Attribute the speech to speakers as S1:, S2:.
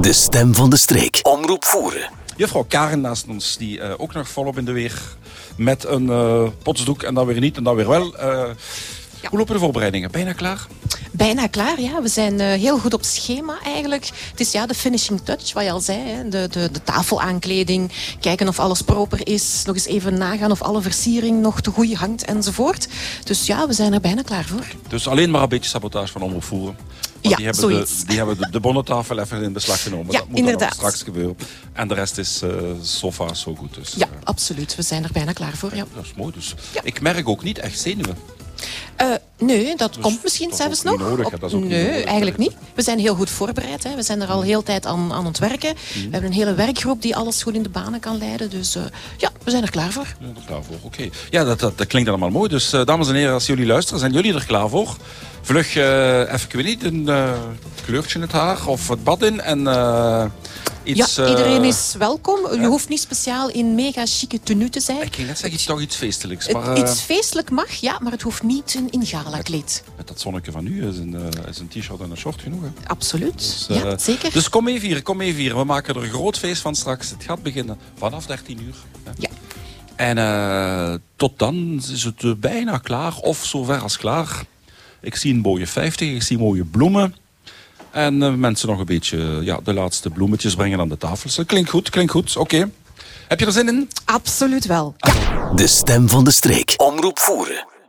S1: De stem van de streek. Omroep voeren.
S2: Juffrouw Karen naast ons, die eh, ook nog volop in de weer met een eh, potsdoek en dan weer niet en dan weer wel. Eh, Hoe lopen de voorbereidingen? Bijna klaar?
S3: Bijna klaar, ja. We zijn eh, heel goed op schema eigenlijk. Het is ja, de finishing touch, wat je al zei. Hè. De, de, de tafelaankleding, kijken of alles proper is. Nog eens even nagaan of alle versiering nog te goed hangt enzovoort. Dus ja, we zijn er bijna klaar voor.
S2: Dus alleen maar een beetje sabotage van Omroep Voeren. Want
S3: Ja,
S2: die hebben, de,
S3: zoiets.
S2: die hebben de, de bonnentafel even in beslag genomen.
S3: Ja,
S2: dat moet
S3: inderdaad.
S2: Dan nog straks gebeuren. En de rest is eh so far so goed. Dus,
S3: Ja,
S2: eh,
S3: absoluut. We zijn er bijna klaar voor, ja.
S2: dat is mooi. Dus.
S3: Ja.
S2: Ik merk ook niet echt zenuwen.
S3: Eh, nee, dat komt
S2: Dus dat
S3: misschien
S2: is
S3: zelfs
S2: ook niet
S3: nog.
S2: nodig, hè, dat is ook niet
S3: nee,
S2: nodig,
S3: eigenlijk
S2: hè. Mm.
S3: niet. We zijn heel goed voorbereid. Hè. We zijn er al heel tijd aan, aan het werken. We hebben een hele werkgroep die alles goed in de banen kan leiden. Dus eh, ja, we zijn er klaar voor.
S2: Ja, er klaar voor. Oké. Ja, dat, dat, dat klinkt allemaal mooi. Dus eh, dames en heren, als jullie luisteren, zijn jullie er klaar voor? Vlug eh, even, ik weet niet, een eh, kleurtje in het haar of het bad in en eh, iets...
S3: ja,
S2: eh,
S3: iedereen is welkom. Je hoeft niet speciaal in mega chique tenue te zijn.
S2: Ik ging net zeggen, iets, toch iets feestelijks,
S3: Het-
S2: maar eh,
S3: Iets feestelijk mag, ja, maar het hoeft niet een ingala-kleed.
S2: met dat zonnetje van nu is een, eh, is een t-shirt en een short genoeg. Hè?
S3: Absoluut.
S2: Dus, eh,
S3: ja, zeker.
S2: Dus kom mee vieren, kom mee vieren. We maken er een groot feest van straks. Het gaat beginnen vanaf 13 uur. hè.
S3: Ja.
S2: En eh, tot dan is het eh, bijna klaar, of zover als klaar. Ik zie een mooie 50, ik zie mooie bloemen. En eh, mensen nog een beetje eh, ja, de laatste bloemetjes brengen aan de tafels. Dat klinkt goed, klinkt goed. Oké. Heb je er zin in?
S3: Absoluut wel.
S1: De stem van de streek. Omroep voeren.